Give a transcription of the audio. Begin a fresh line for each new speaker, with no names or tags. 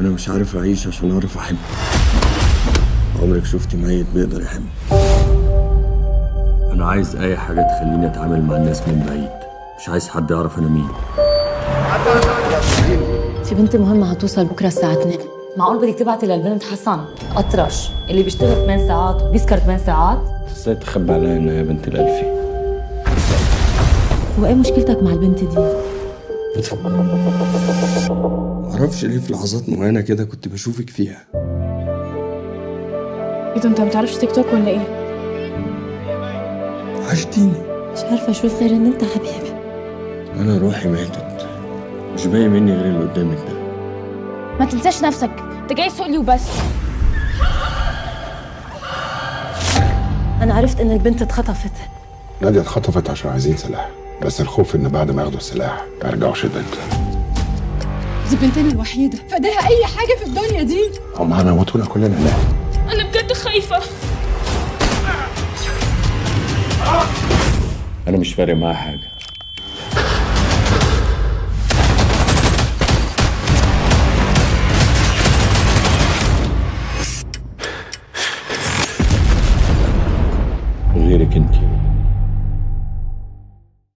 انا مش عارف اعيش عشان اعرف احب عمرك شفت ميت بيقدر يحب انا عايز اي حاجه تخليني اتعامل مع الناس من بعيد مش عايز حد يعرف انا مين
في بنت مهمة هتوصل بكرة الساعة 2
معقول بدك تبعتي للبنت حسن اطرش اللي بيشتغل 8 ساعات وبيسكر 8 ساعات
ازاي تخبي عليا انا يا بنت الالفي
هو ايه مشكلتك مع البنت دي؟
معرفش ليه في لحظات معينه كده كنت بشوفك فيها
ايه ده انت ما بتعرفش تيك توك ولا ايه؟
عشتيني
مش عارفة اشوف غير ان انت حبيبي
انا روحي ماتت مش باقي مني غير اللي قدامك ده
ما تنساش نفسك انت جاي تسوق لي وبس
انا عرفت ان البنت اتخطفت
نادية اتخطفت عشان عايزين سلاح بس الخوف ان بعد ما ياخدوا السلاح ما يرجعوش البنت
دي بنتنا الوحيدة فداها أي حاجة في الدنيا دي
هم هيموتونا كلنا هناك
انا بجد خايفه
انا مش فارق معايا حاجه غيرك انتي